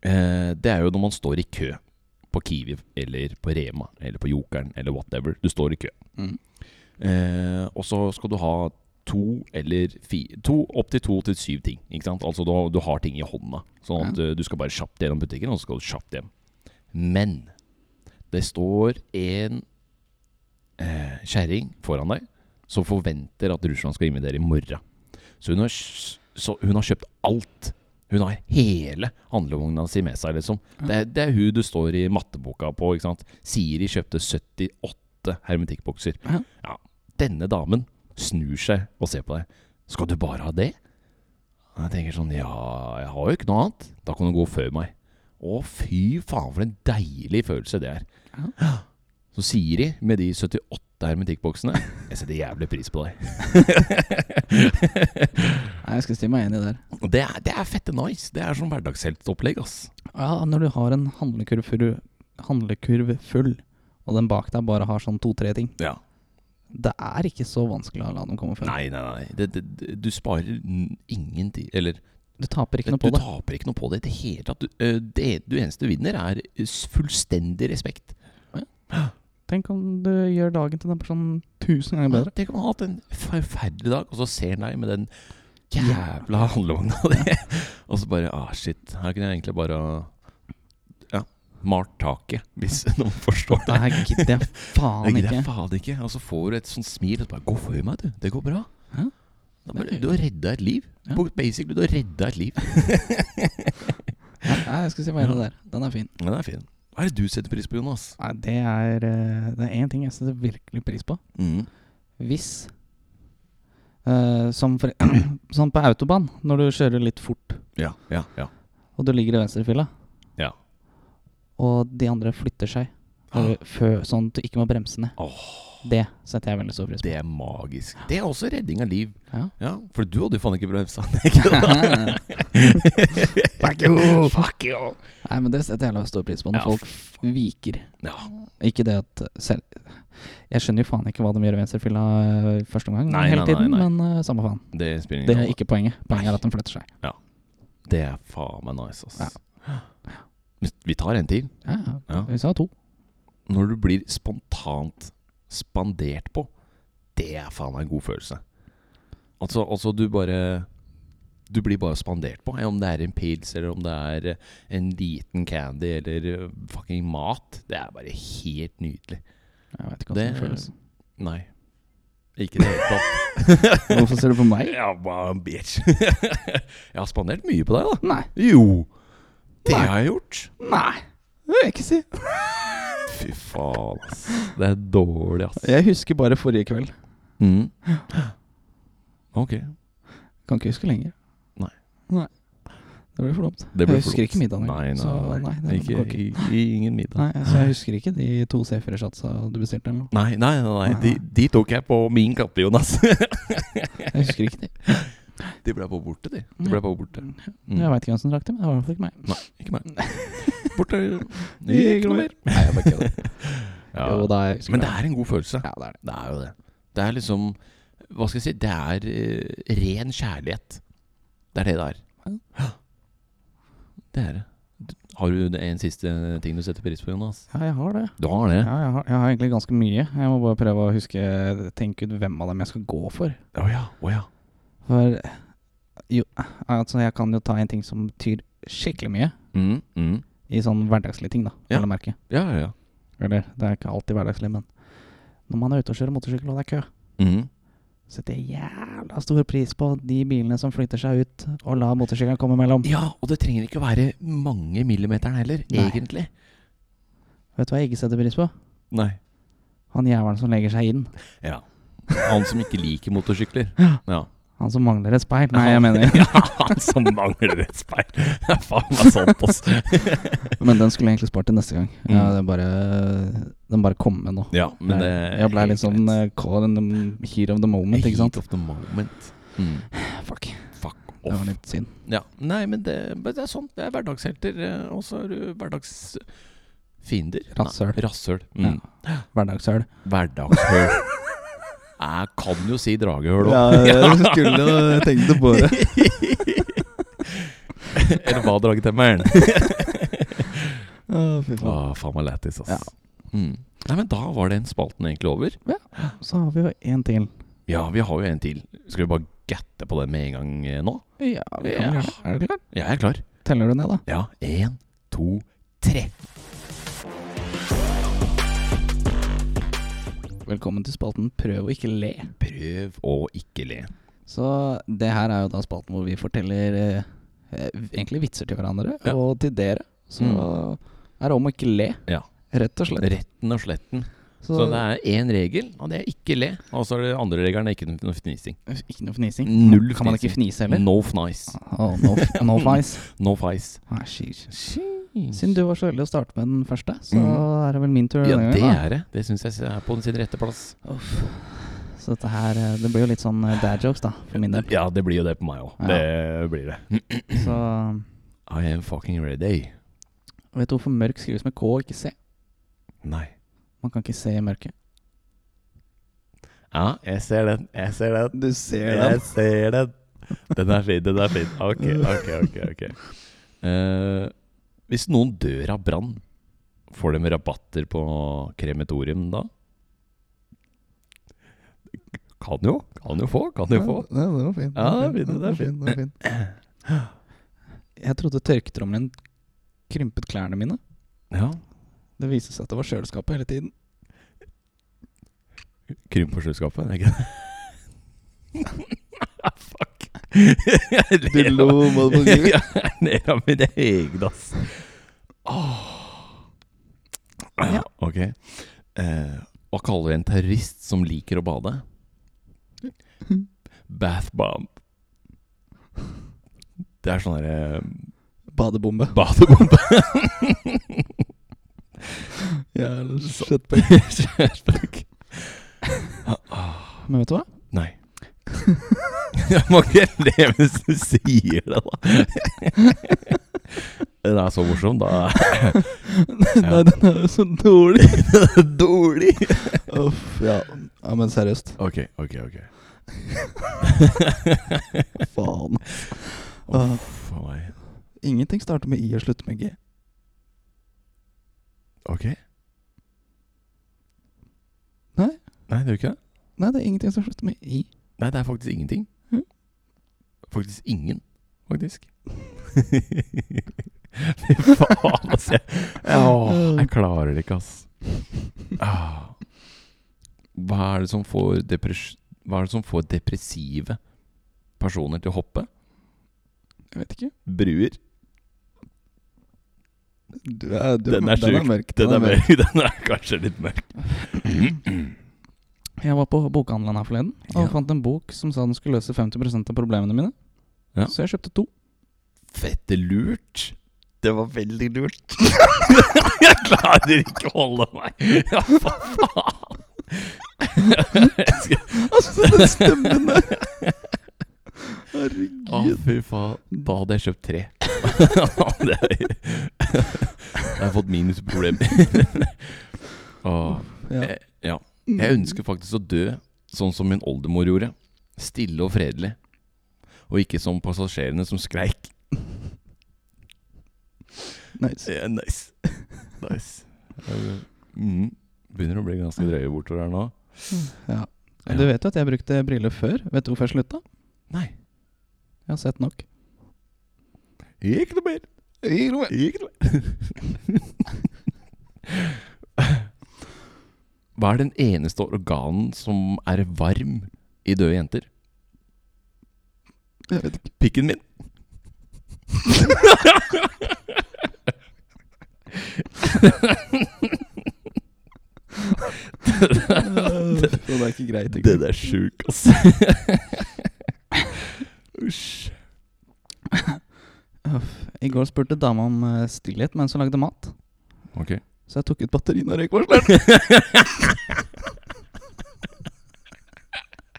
Speaker 2: Eh, Det er jo når man står i kø. På Kiwi eller på Rema eller på Jokeren eller whatever. Du står i kø.
Speaker 1: Mm.
Speaker 2: Eh, og så skal du ha to eller fire to, Opptil to til syv ting. Ikke sant? Altså du, har- du har ting i hånda. Sånn at eh, du skal bare kjapt gjennom butikken, og så skal du kjapt hjem. Men det står en eh, kjerring foran deg som forventer at Russland skal invitere i morgen. Så hun har, s- så hun har kjøpt alt. Hun har hele handlevogna si med seg, liksom. Det er, det er hun du står i matteboka på, ikke sant. Siri kjøpte 78 hermetikkbokser.
Speaker 1: Ja.
Speaker 2: Ja. Denne damen snur seg og ser på deg. Skal du bare ha det? Og jeg tenker sånn, ja, jeg har jo ikke noe annet. Da kan du gå før meg. Å, fy faen, for en deilig følelse det er. Så Siri, med de 78 hermetikkboksene Jeg setter jævlig pris på deg.
Speaker 1: Nei, jeg skal si meg enig der.
Speaker 2: Og det er, det er fette nice. Det er sånn hverdagsheltopplegg, ass.
Speaker 1: Ja, når du har en handlekurv full, handlekurv full og den bak deg bare har sånn to-tre ting
Speaker 2: Ja.
Speaker 1: Det er ikke så vanskelig å la dem komme før.
Speaker 2: Nei, nei, nei. Det, det, det- du sparer n- ingen tid Eller
Speaker 1: Du taper ikke noe
Speaker 2: Du
Speaker 1: på det.
Speaker 2: taper ikke noe på det i det hele tatt. Du, eh, det du eneste du vinner, er s- fullstendig respekt.
Speaker 1: Tenk om du gjør dagen til den personen tusen ganger bedre.
Speaker 2: Tenk om han har hatt en forferdelig dag, og så ser han deg med den jævla handlevogna di. Og så bare Ah, shit. Her kunne jeg egentlig bare ha, Ja, malt taket, hvis noen forstår det.
Speaker 1: Det her gidder jeg faen
Speaker 2: Det gidder
Speaker 1: ikke.
Speaker 2: jeg faen ikke. Og så får du et sånt smil og så bare Gå for meg, du. Det går bra.
Speaker 1: Ja.
Speaker 2: Da bare, du har redda et liv.
Speaker 1: Ja.
Speaker 2: Basically, du har redda et liv.
Speaker 1: Nei, nei, jeg skal si hva er det der. Den er fin.
Speaker 2: Ja, den er fin. Hva er det du setter pris på, Jonas?
Speaker 1: Nei, det er eh, Det er én ting jeg setter virkelig pris på.
Speaker 2: Mm.
Speaker 1: Hvis eh, som, for, som på autobahn, når du kjører litt fort,
Speaker 2: Ja, ja, ja.
Speaker 1: og du ligger i venstrefila,
Speaker 2: Ja.
Speaker 1: og de andre flytter seg når
Speaker 2: Ah.
Speaker 1: du- før, sånn at du ikke må bremse ned. Det setter jeg veldig stor pris på.
Speaker 2: Det er magisk. Det er også redding av liv.
Speaker 1: Ja.
Speaker 2: Ja, For du hadde jo faen ikke bremsa.
Speaker 1: Fuck you.
Speaker 2: Fuck you!
Speaker 1: Nei, men det setter jeg jævla stor pris på når
Speaker 2: Ja,
Speaker 1: folk viker.
Speaker 2: Ja.
Speaker 1: Ikke det at selv Jeg skjønner jo faen ikke hva de gjør i venstrefila eh, første omgang,
Speaker 2: Nei,
Speaker 1: hele
Speaker 2: nei, nei,
Speaker 1: tiden,
Speaker 2: nei.
Speaker 1: men eh, samme faen.
Speaker 2: Det
Speaker 1: Det
Speaker 2: spiller ingen
Speaker 1: er
Speaker 2: rolle.
Speaker 1: ikke poenget. Poenget er at de flytter seg.
Speaker 2: Det er faen meg nice, ass.
Speaker 1: Ja.
Speaker 2: Men Vi tar en til.
Speaker 1: Ja, ja.
Speaker 2: Ja.
Speaker 1: Vi sa to.
Speaker 2: Når du blir spontant spandert på, det er faen meg en god følelse. Altså, altså du bare Du blir bare spandert på. eh, Om det er en pils, eller om det er eh, en liten candy, eller eh, fucking mat. Det er bare helt nydelig.
Speaker 1: Jeg vet ikke hvordan det,
Speaker 2: Det-
Speaker 1: føles.
Speaker 2: Nei. Ikke i det hele tatt.
Speaker 1: Hvorfor ser du på meg?
Speaker 2: Ja, bare en bitch. jeg har spandert mye på deg, da.
Speaker 1: Nei.
Speaker 2: Jo. Det
Speaker 1: Nei.
Speaker 2: har jeg gjort.
Speaker 1: Nei. Det vil jeg ikke si.
Speaker 2: Fy faen, ass. Det er dårlig, ass.
Speaker 1: Jeg husker bare forrige kveld.
Speaker 2: Mm. Ok.
Speaker 1: Kan ikke huske lenger.
Speaker 2: Nei.
Speaker 1: Nei. Det blir for dumt.
Speaker 2: Det ble
Speaker 1: jeg husker
Speaker 2: for dumt.
Speaker 1: ikke middagen.
Speaker 2: Nei, nei,
Speaker 1: så, nei, det
Speaker 2: ikke,
Speaker 1: går ikke.
Speaker 2: i- i- ingen middag.
Speaker 1: Nei, altså, jeg husker ikke de to C4-satsa du bestilte. eller noe.
Speaker 2: Nei, nei, nei, nei. De,
Speaker 1: Nei.
Speaker 2: de tok jeg på min kappe, Jonas.
Speaker 1: Jeg husker ikke de.
Speaker 2: de ble på borte, de. De ble på borte. Mm.
Speaker 1: Jeg veit ikke hvem som drakk dem. Det var i hvert fall ikke meg.
Speaker 2: Ikke meg. Borte.
Speaker 1: Ikke
Speaker 2: Ikke
Speaker 1: noe
Speaker 2: noe
Speaker 1: mer.
Speaker 2: mer. Nei, jeg bare kødder. Ja.
Speaker 1: Jo, da, jeg husker
Speaker 2: Men det er en god følelse.
Speaker 1: Ja, det er det.
Speaker 2: Det er jo det. Det er liksom Hva skal jeg si? Det er eh, ren kjærlighet. Det er det det er.
Speaker 1: Ja.
Speaker 2: Ja. Det er det. Du- Har du en siste ting du setter pris på, Jonas?
Speaker 1: Ja, jeg har det.
Speaker 2: Du har det?
Speaker 1: Ja, jeg, har, jeg har egentlig ganske mye. Jeg må bare prøve å huske tenke ut hvem av dem jeg skal gå for.
Speaker 2: Å ja. Å ja.
Speaker 1: For jo, altså, jeg kan jo ta en ting som betyr skikkelig mye
Speaker 2: Mm, mm.
Speaker 1: i sånn hverdagslige ting, da.
Speaker 2: Ja.
Speaker 1: vel å merke.
Speaker 2: Ja, ja, ja.
Speaker 1: Eller det er ikke alltid hverdagslig, men når man er ute og kjører motorsykkel og det er kø,
Speaker 2: Mm.
Speaker 1: setter jeg jævla stor pris på de bilene som flytter seg ut og lar motorsykkelen komme mellom.
Speaker 2: Ja, og det trenger ikke å være mange millimeteren heller,
Speaker 1: Nei.
Speaker 2: egentlig.
Speaker 1: Vet du hva jeg ikke setter pris på?
Speaker 2: Nei.
Speaker 1: Han jævelen som legger seg inn.
Speaker 2: Ja. Han som ikke liker motorsykler. Ja.
Speaker 1: Han som mangler et speil. Nei, jeg mener
Speaker 2: Ja, han som mangler et speil. Det er faen meg sant, ass.
Speaker 1: Men den skulle jeg egentlig spart til neste gang. Ja,
Speaker 2: Mm.
Speaker 1: det er bare, den bare kom med nå.
Speaker 2: Ja, men det
Speaker 1: jeg ble litt sånn eh, caught in the heat of the moment, ikke sant?
Speaker 2: Heat of the moment. Mm.
Speaker 1: Fuck.
Speaker 2: Fuck
Speaker 1: Det var
Speaker 2: off.
Speaker 1: litt synd.
Speaker 2: Ja. Nei, men det, men det er sånn. Det er hverdagshelter. eh, Og så er du hverdagsfiender.
Speaker 1: Rasshøl.
Speaker 2: Nei, Rasshøl. Mm.
Speaker 1: Hverdagshøl.
Speaker 2: Hverdagshøl. Jeg kan jo si dragehøl òg.
Speaker 1: skulle tenkt på det.
Speaker 2: Eller hva, dragetemmeren?
Speaker 1: Å, fy faen.
Speaker 2: Åh, faen meg lættis, ass.
Speaker 1: Ja.
Speaker 2: Mm. Nei, men da var den spalten egentlig over.
Speaker 1: Så har vi jo en til.
Speaker 2: Ja, vi har jo en til. Skal vi bare gatte på den med en gang eh, nå?
Speaker 1: Ja, vi kan
Speaker 2: Ja.
Speaker 1: gjøre det. Er du klar?
Speaker 2: Jeg er klar.
Speaker 1: Teller du ned, da?
Speaker 2: Ja, én, to, tre.
Speaker 1: Velkommen til spalten Prøv å ikke le.
Speaker 2: Prøv å ikke le.
Speaker 1: Så det her er jo da spalten hvor vi forteller eh, eh, egentlig vitser til hverandre
Speaker 2: Ja.
Speaker 1: og til dere. Så
Speaker 2: Mm.
Speaker 1: er det om å ikke le,
Speaker 2: Ja.
Speaker 1: rett og slett.
Speaker 2: Retten og sletten. Så, det er én regel, og det er ikke le. Og så er det andre regelen er ikke noe fnising.
Speaker 1: Ikke noe fnising.
Speaker 2: Null
Speaker 1: Kan man ikke
Speaker 2: fnising.
Speaker 1: fnise heller?
Speaker 2: No fnice.
Speaker 1: Å, no, f- no flies.
Speaker 2: No fice.
Speaker 1: Ah, sheesh. Siden du var så heldig å starte med den første, så
Speaker 2: Mhm.
Speaker 1: er det vel min tur.
Speaker 2: Ja,
Speaker 1: denne
Speaker 2: det
Speaker 1: gangen,
Speaker 2: er det. Det syns jeg er på sin rette plass.
Speaker 1: da. Uff. Så dette her eh, Det blir jo litt sånn eh, dad jokes, da, for min del.
Speaker 2: Ja, det blir jo det på meg òg.
Speaker 1: Ja.
Speaker 2: Det blir det.
Speaker 1: Så
Speaker 2: I am fucking ready.
Speaker 1: vet du hvorfor mørk skrives med K og ikke C?
Speaker 2: Nei.
Speaker 1: Man kan ikke se i mørket.
Speaker 2: Ja, jeg ser den. Jeg ser den.
Speaker 1: Du ser
Speaker 2: Jeg ser den. Den er fin, den er fin. Ok, ok, ok. ok Eh, Hvis noen dør av brann, får de rabatter på krematorium da? Kan jo. Kan jo få, kan jo få.
Speaker 3: Ja, det var fint.
Speaker 2: Ja,
Speaker 3: det
Speaker 2: det
Speaker 3: var
Speaker 2: er
Speaker 3: fint,
Speaker 2: fint,
Speaker 3: det var fint.
Speaker 1: Jeg trodde tørketrommelen krympet klærne mine.
Speaker 2: Ja.
Speaker 1: Det viste seg at det var kjøleskapet hele tiden.
Speaker 2: Krymp på kjøleskapet, er det ikke det? Fuck. Jeg
Speaker 3: Du
Speaker 2: ler av-
Speaker 3: lo, motherfucker.
Speaker 2: Jeg ler av mine egne, ass. Åh.
Speaker 1: Ja.
Speaker 2: Ok. Eh, hva kaller vi en terrorist som liker å bade? Bath bomb. Det er sånn derre
Speaker 1: Badebombe.
Speaker 2: badebombe.
Speaker 3: Jævla
Speaker 2: Så-
Speaker 3: shitbag.
Speaker 2: Kjærespøk.
Speaker 1: Men vet du hva?
Speaker 2: Nei. Jeg må ikke le hvis du sier det, da. Den er så morsom, da.
Speaker 1: Nei, den er jo så dårlig.
Speaker 2: Dårlig.
Speaker 3: Uff, ja.
Speaker 1: Ja, men seriøst.
Speaker 2: Ok, ok, ok.
Speaker 1: Faen.
Speaker 2: Å, faen meg.
Speaker 1: Ingenting starter med I og slutter med G.
Speaker 2: Ok.
Speaker 1: Nei.
Speaker 2: Nei, det gjør ikke det.
Speaker 1: Nei, det er ingenting som slutter med I.
Speaker 2: Nei, det er faktisk ingenting.
Speaker 1: Hm?
Speaker 2: Faktisk ingen, faktisk. Fy faen, altså. Jeg, Åh, jeg klarer det ikke, ass. Ah. Hva er det som får, depres Hva er det som får depressive personer til å hoppe?
Speaker 1: Jeg vet ikke.
Speaker 2: Bruer.
Speaker 3: Du er, du,
Speaker 2: Den er sjuk.
Speaker 3: mørk.
Speaker 2: Den er, mørk. Den er kanskje litt mørk.
Speaker 1: Jeg var på bokhandelen her forleden og
Speaker 2: Ja.
Speaker 1: fant en bok som sa den skulle løse 50 av problemene mine.
Speaker 2: Ja.
Speaker 1: Så jeg kjøpte to.
Speaker 2: Fette lurt. Det var veldig lurt. jeg klarer ikke å holde meg. Ja, hva faen? Jeg skal-
Speaker 3: Altså, den stemmen der.
Speaker 2: Å,
Speaker 3: Herregud.
Speaker 2: fy faen. Da hadde jeg kjøpt tre. det jeg har fått minusproblemer. Åh. Eh,
Speaker 3: Ja.
Speaker 2: Ja. Jeg
Speaker 1: Mm.
Speaker 2: ønsker faktisk å dø sånn som min oldemor gjorde. Stille og fredelig. Og ikke som passasjerene som skreik.
Speaker 1: Nice.
Speaker 2: Ja, nice. Nice. Mm. Begynner å bli ganske drøye bortover her nå.
Speaker 1: Mm. Ja.
Speaker 2: Ja.
Speaker 1: Du vet jo at jeg brukte briller før. Vet du hvorfor jeg slutta?
Speaker 2: Nei.
Speaker 1: Jeg har sett nok.
Speaker 2: Ikke noe mer. Ikke noe mer. Hva er den eneste organen som er varm i døde jenter?
Speaker 3: Jeg vet ikke.
Speaker 2: Pikken min.
Speaker 3: Den er ikke greit.
Speaker 2: Det der er sjuk, altså. Usj.
Speaker 1: Uff. I går spurte dama om eh, stillhet mens hun lagde mat.
Speaker 2: Ok.
Speaker 1: Så jeg tok ut batterien og røykvarsleren.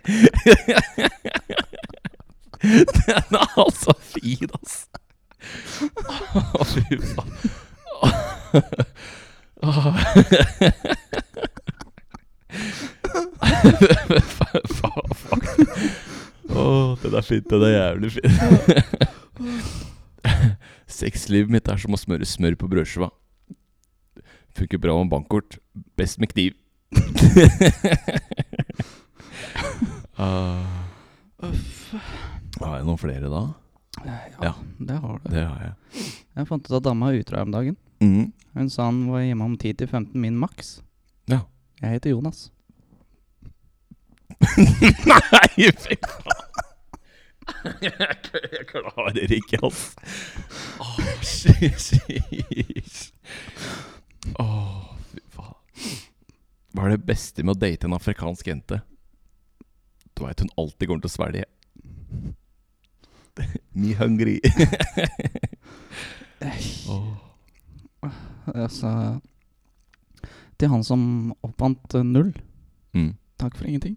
Speaker 2: Den er altså fin, ass. Å, fy faen. Åh. Faen, fuck. Å, den er fin. Den er jævlig fin. Sexlivet mitt er som å smøre smør på brødskiva. Funker bra med bankkort. Best med kniv. Ah. Har jeg noen flere da? Ja.
Speaker 1: Det har du.
Speaker 2: Det har jeg.
Speaker 1: Jeg fant ut at dama er utro her om dagen.
Speaker 2: Mm.
Speaker 1: Hun sa han var hjemme om 10 til 15 min maks.
Speaker 2: Ja.
Speaker 1: Jeg heter Jonas.
Speaker 2: Nei, fy faen! Jeg kl- jeg klarer ikke, altså. Åh, sheesh. Åh, fy faen. Hva er det beste med å date en afrikansk jente? Du veit hun alltid kommer til å svelge. Me hungry. Åh.
Speaker 1: Altså Til han som oppvant eh, null.
Speaker 2: Mm.
Speaker 1: Takk for ingenting.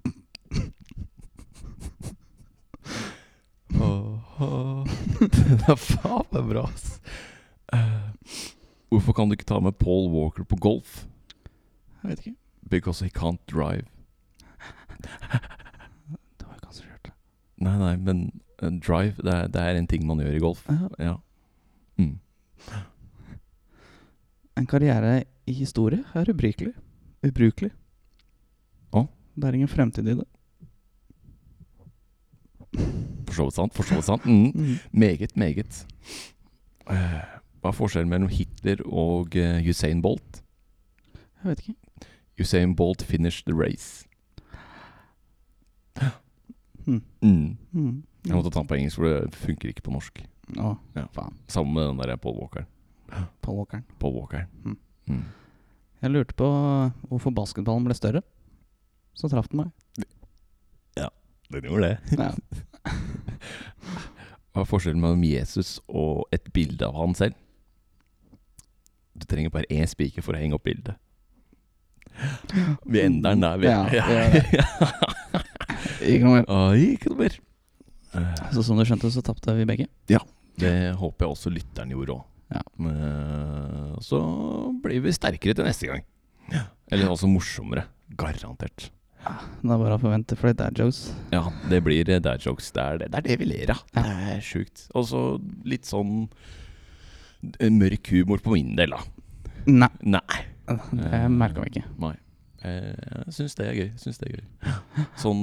Speaker 2: Det er faen meg bra, ass. Eh, hvorfor kan du ikke ta med Paul Walker på golf?
Speaker 1: Jeg vet ikke.
Speaker 2: Because he can't drive.
Speaker 1: Det var jo kanskje rart.
Speaker 2: Nei, nei, men eh, drive, det er, det er en ting man gjør i golf.
Speaker 1: Ja,
Speaker 2: Ja. Mm.
Speaker 1: En karriere i historie er ubrukelig. Ubrukelig.
Speaker 2: Å?
Speaker 1: Det er ingen fremtid i det.
Speaker 2: For så vidt sant. For så vidt sant. Mm. Meget, meget. Eh, Hva er forskjellen mellom Hitler og eh, Usain Bolt?
Speaker 1: Jeg vet ikke.
Speaker 2: Usain Bolt finished the race.
Speaker 1: Mm.
Speaker 2: Mm.
Speaker 1: Mm.
Speaker 2: Jeg måtte ta den på engelsk, for det funker ikke på norsk.
Speaker 1: Å,
Speaker 2: Ja.
Speaker 1: faen.
Speaker 2: Sammen med den der Paul Walker.
Speaker 1: Paul Walkeren.
Speaker 2: Paul Walker.
Speaker 1: Mm.
Speaker 2: Mm.
Speaker 1: Jeg lurte på hvorfor basketballen ble større. Så traff den meg.
Speaker 2: Den gjorde det.
Speaker 1: Ja.
Speaker 2: Hva er forskjellen mellom Jesus og et bilde av han selv? Du trenger bare én spiker for å henge opp bildet. Vi ender den der, vi.
Speaker 1: Ja, vi Ikke noe mer.
Speaker 2: Oi, ikke noe mer. Eh,
Speaker 1: Så som du skjønte, så tapte vi begge.
Speaker 2: Det håper jeg også lytteren gjorde òg.
Speaker 1: Ja.
Speaker 2: Så blir vi sterkere til neste gang. Eller også morsommere. Garantert.
Speaker 1: Det er bare å forvente for det er jokes.
Speaker 2: Ja, det blir eh, dad jokes. Det er det, det, er det vi ler av.
Speaker 1: Ja.
Speaker 2: Det er sjukt. Og så litt sånn eh, mørk humor på min del, da.
Speaker 1: Nei,
Speaker 2: Nei.
Speaker 1: det merka vi ikke.
Speaker 2: Nei. Eh, Jeg syns det er gøy. Synes det er gøy. Sånn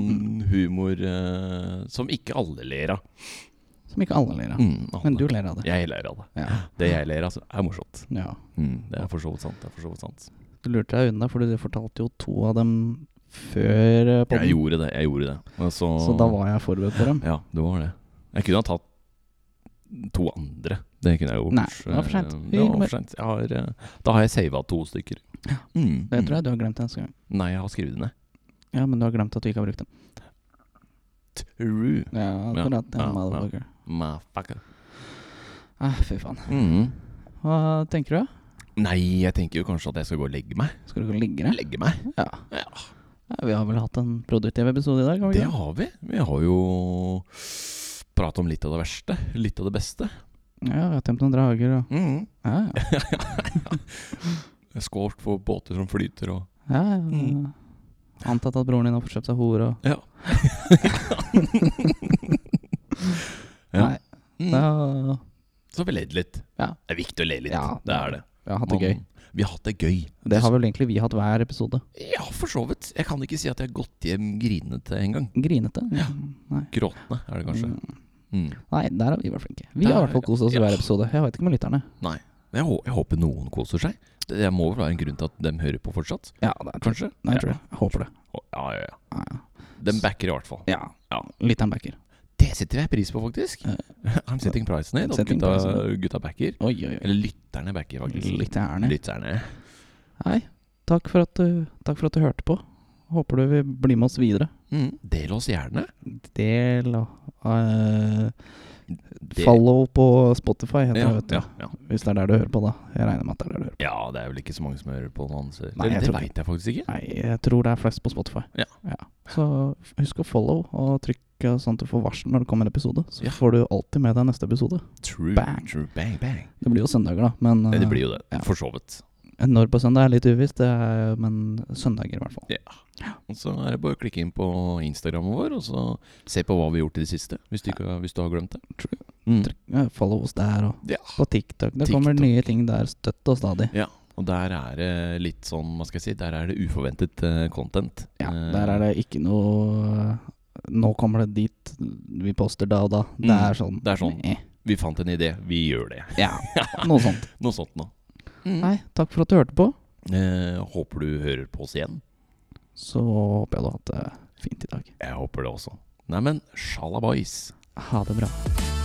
Speaker 2: humor eh, som ikke alle ler av.
Speaker 1: Som ikke alle ler av.
Speaker 2: Mm, alle.
Speaker 1: Men du ler av det.
Speaker 2: Jeg ler av det.
Speaker 1: Ja.
Speaker 2: Det jeg ler av, altså, er morsomt.
Speaker 1: ja.
Speaker 2: Mm, det er for så vidt sant. Det er for så vidt sant.
Speaker 1: Du lurte deg unna, for du fortalte jo to av dem før eh,
Speaker 2: Jeg
Speaker 1: podden.
Speaker 2: gjorde det. jeg gjorde det Men så,
Speaker 1: Så da var jeg forberedt på dem.
Speaker 2: Ja, det var det. Jeg kunne ha tatt to andre. Det kunne jeg gjort.
Speaker 1: Nei, det var for sent.
Speaker 2: Eh,
Speaker 1: Vi
Speaker 2: Det
Speaker 1: gikk
Speaker 2: var
Speaker 1: med-
Speaker 2: for sent. Jeg har, eh, da har jeg sava to stykker. Mm,
Speaker 1: Det tror
Speaker 2: mm.
Speaker 1: jeg du har glemt neste gang.
Speaker 2: Nei, jeg har skrevet det ned.
Speaker 1: Ja, men du har glemt at du ikke har brukt dem.
Speaker 2: True.
Speaker 1: Ja, akkurat. Ja,
Speaker 2: ja, ja.
Speaker 1: motherfucker.
Speaker 2: Motherfucker.
Speaker 1: Ah, fy faen.
Speaker 2: Mm.
Speaker 1: Hva tenker du?
Speaker 2: Nei, jeg tenker jo kanskje at jeg skal gå og legge meg.
Speaker 1: Skal du gå og ligge deg?
Speaker 2: Legge meg?
Speaker 1: Ja. ja. Vi har vel hatt en produktiv episode i dag? har vi
Speaker 2: Det
Speaker 1: ikke?
Speaker 2: har vi. Vi har jo pratet om litt av det verste. Litt av det beste.
Speaker 1: Ja, vi har tømt noen drager og
Speaker 2: Mm.
Speaker 1: Ja, ja.
Speaker 2: Skålt for båter som flyter og
Speaker 1: ja, ja.
Speaker 2: Mm.
Speaker 1: Antatt at broren din har fått kjøpt seg hore og
Speaker 2: Ja. Ja.
Speaker 1: Nei.
Speaker 2: Mm.
Speaker 1: Da,
Speaker 2: Så vi ledde litt.
Speaker 1: Ja.
Speaker 2: Det er viktig å le litt.
Speaker 1: Ja.
Speaker 2: Det er det.
Speaker 1: vi har hatt det gøy.
Speaker 2: Man- Vi har hatt det gøy.
Speaker 1: Det har vel egentlig vi hatt hver episode.
Speaker 2: Ja, for så vidt. Jeg kan ikke si at jeg har gått hjem grinete engang.
Speaker 1: Grinete? Mm,
Speaker 2: Ja.
Speaker 1: Nei.
Speaker 2: Gråtende er det kanskje.
Speaker 1: Mm.
Speaker 2: Mm.
Speaker 1: Nei, der har vi vært flinke. Vi
Speaker 2: Der-
Speaker 1: har i hvert fall kost oss i
Speaker 2: ja.
Speaker 1: hver episode. Jeg vet ikke med lytterne.
Speaker 2: Men Jeg, hå- jeg håper noen koser seg. Det det må vel være en grunn til at de hører på fortsatt?
Speaker 1: Ja, det er
Speaker 2: Kanskje?
Speaker 1: Nei, jeg tror det. Jeg håper det.
Speaker 2: Å, Ja, ja, ja.
Speaker 1: Ja, ja.
Speaker 2: De backer i hvert fall.
Speaker 1: Ja.
Speaker 2: Ja.
Speaker 1: Lytteren backer.
Speaker 2: Det setter jeg pris på, faktisk. I'm setting price ned. At
Speaker 1: Setting price
Speaker 2: gutta,
Speaker 1: ned.
Speaker 2: gutta backer.
Speaker 1: Oi, oi, oi.
Speaker 2: Eller lytterne backer, faktisk.
Speaker 1: Lytterne.
Speaker 2: Lytterne.
Speaker 1: Hei. Takk for, at du, takk for at du hørte på. Håper du vil bli med oss videre.
Speaker 2: Mm. Del oss gjerne.
Speaker 1: Del og eh,
Speaker 2: Del-
Speaker 1: Follow på Spotify, heter det.
Speaker 2: Ja,
Speaker 1: Vet du.
Speaker 2: ja, ja.
Speaker 1: Hvis det er der du hører på, da. Jeg regner med at det er der du hører på.
Speaker 2: ja, det er vel ikke så mange som hører på noen andre.
Speaker 1: Nei, jeg
Speaker 2: Det, det
Speaker 1: tror ikke.
Speaker 2: veit jeg faktisk ikke.
Speaker 1: Nei, jeg tror det er flest på Spotify.
Speaker 2: Ja.
Speaker 1: Så husk å follow og trykke sånn at du får varsel når det kommer en episode. Så
Speaker 2: Ja.
Speaker 1: får du alltid med deg neste episode.
Speaker 2: True.
Speaker 1: Bang.
Speaker 2: True. Bang, bang.
Speaker 1: Det blir jo søndager, da. Men
Speaker 2: Ja, Det blir jo det.
Speaker 1: ja.
Speaker 2: For så vidt.
Speaker 1: eh, når på søndag er litt uvisst, det er, men søndager i hvert fall.
Speaker 2: Og så er det bare å klikke inn på Instagrammen vår og så se på hva vi har gjort i det siste. Hvis du, ikke, hvis du har glemt det.
Speaker 1: True.
Speaker 2: Mm.
Speaker 1: Trykk, eh, Follow oss der og
Speaker 2: Ja.
Speaker 1: på TikTok. Det kommer
Speaker 2: TikTok.
Speaker 1: nye ting der støtt og stadig.
Speaker 2: Og der er det litt sånn, hva skal jeg si, der er det uforventet eh, content. Eh,
Speaker 1: Ja, der er det ikke noe eh, Nå kommer det dit vi poster da og da. Det
Speaker 2: Mm,
Speaker 1: er sånn.
Speaker 2: det er sånn.
Speaker 1: eh,
Speaker 2: Vi fant en idé, vi gjør det.
Speaker 1: Ja, noe sånt.
Speaker 2: Noe sånt nå. Mm.
Speaker 1: Nei, takk for at du hørte på.
Speaker 2: Eh, håper du hører på oss igjen.
Speaker 1: Så håper jeg du har hatt det fint i dag.
Speaker 2: Jeg håper det også. Nei, men shalabais.
Speaker 1: Ha det bra.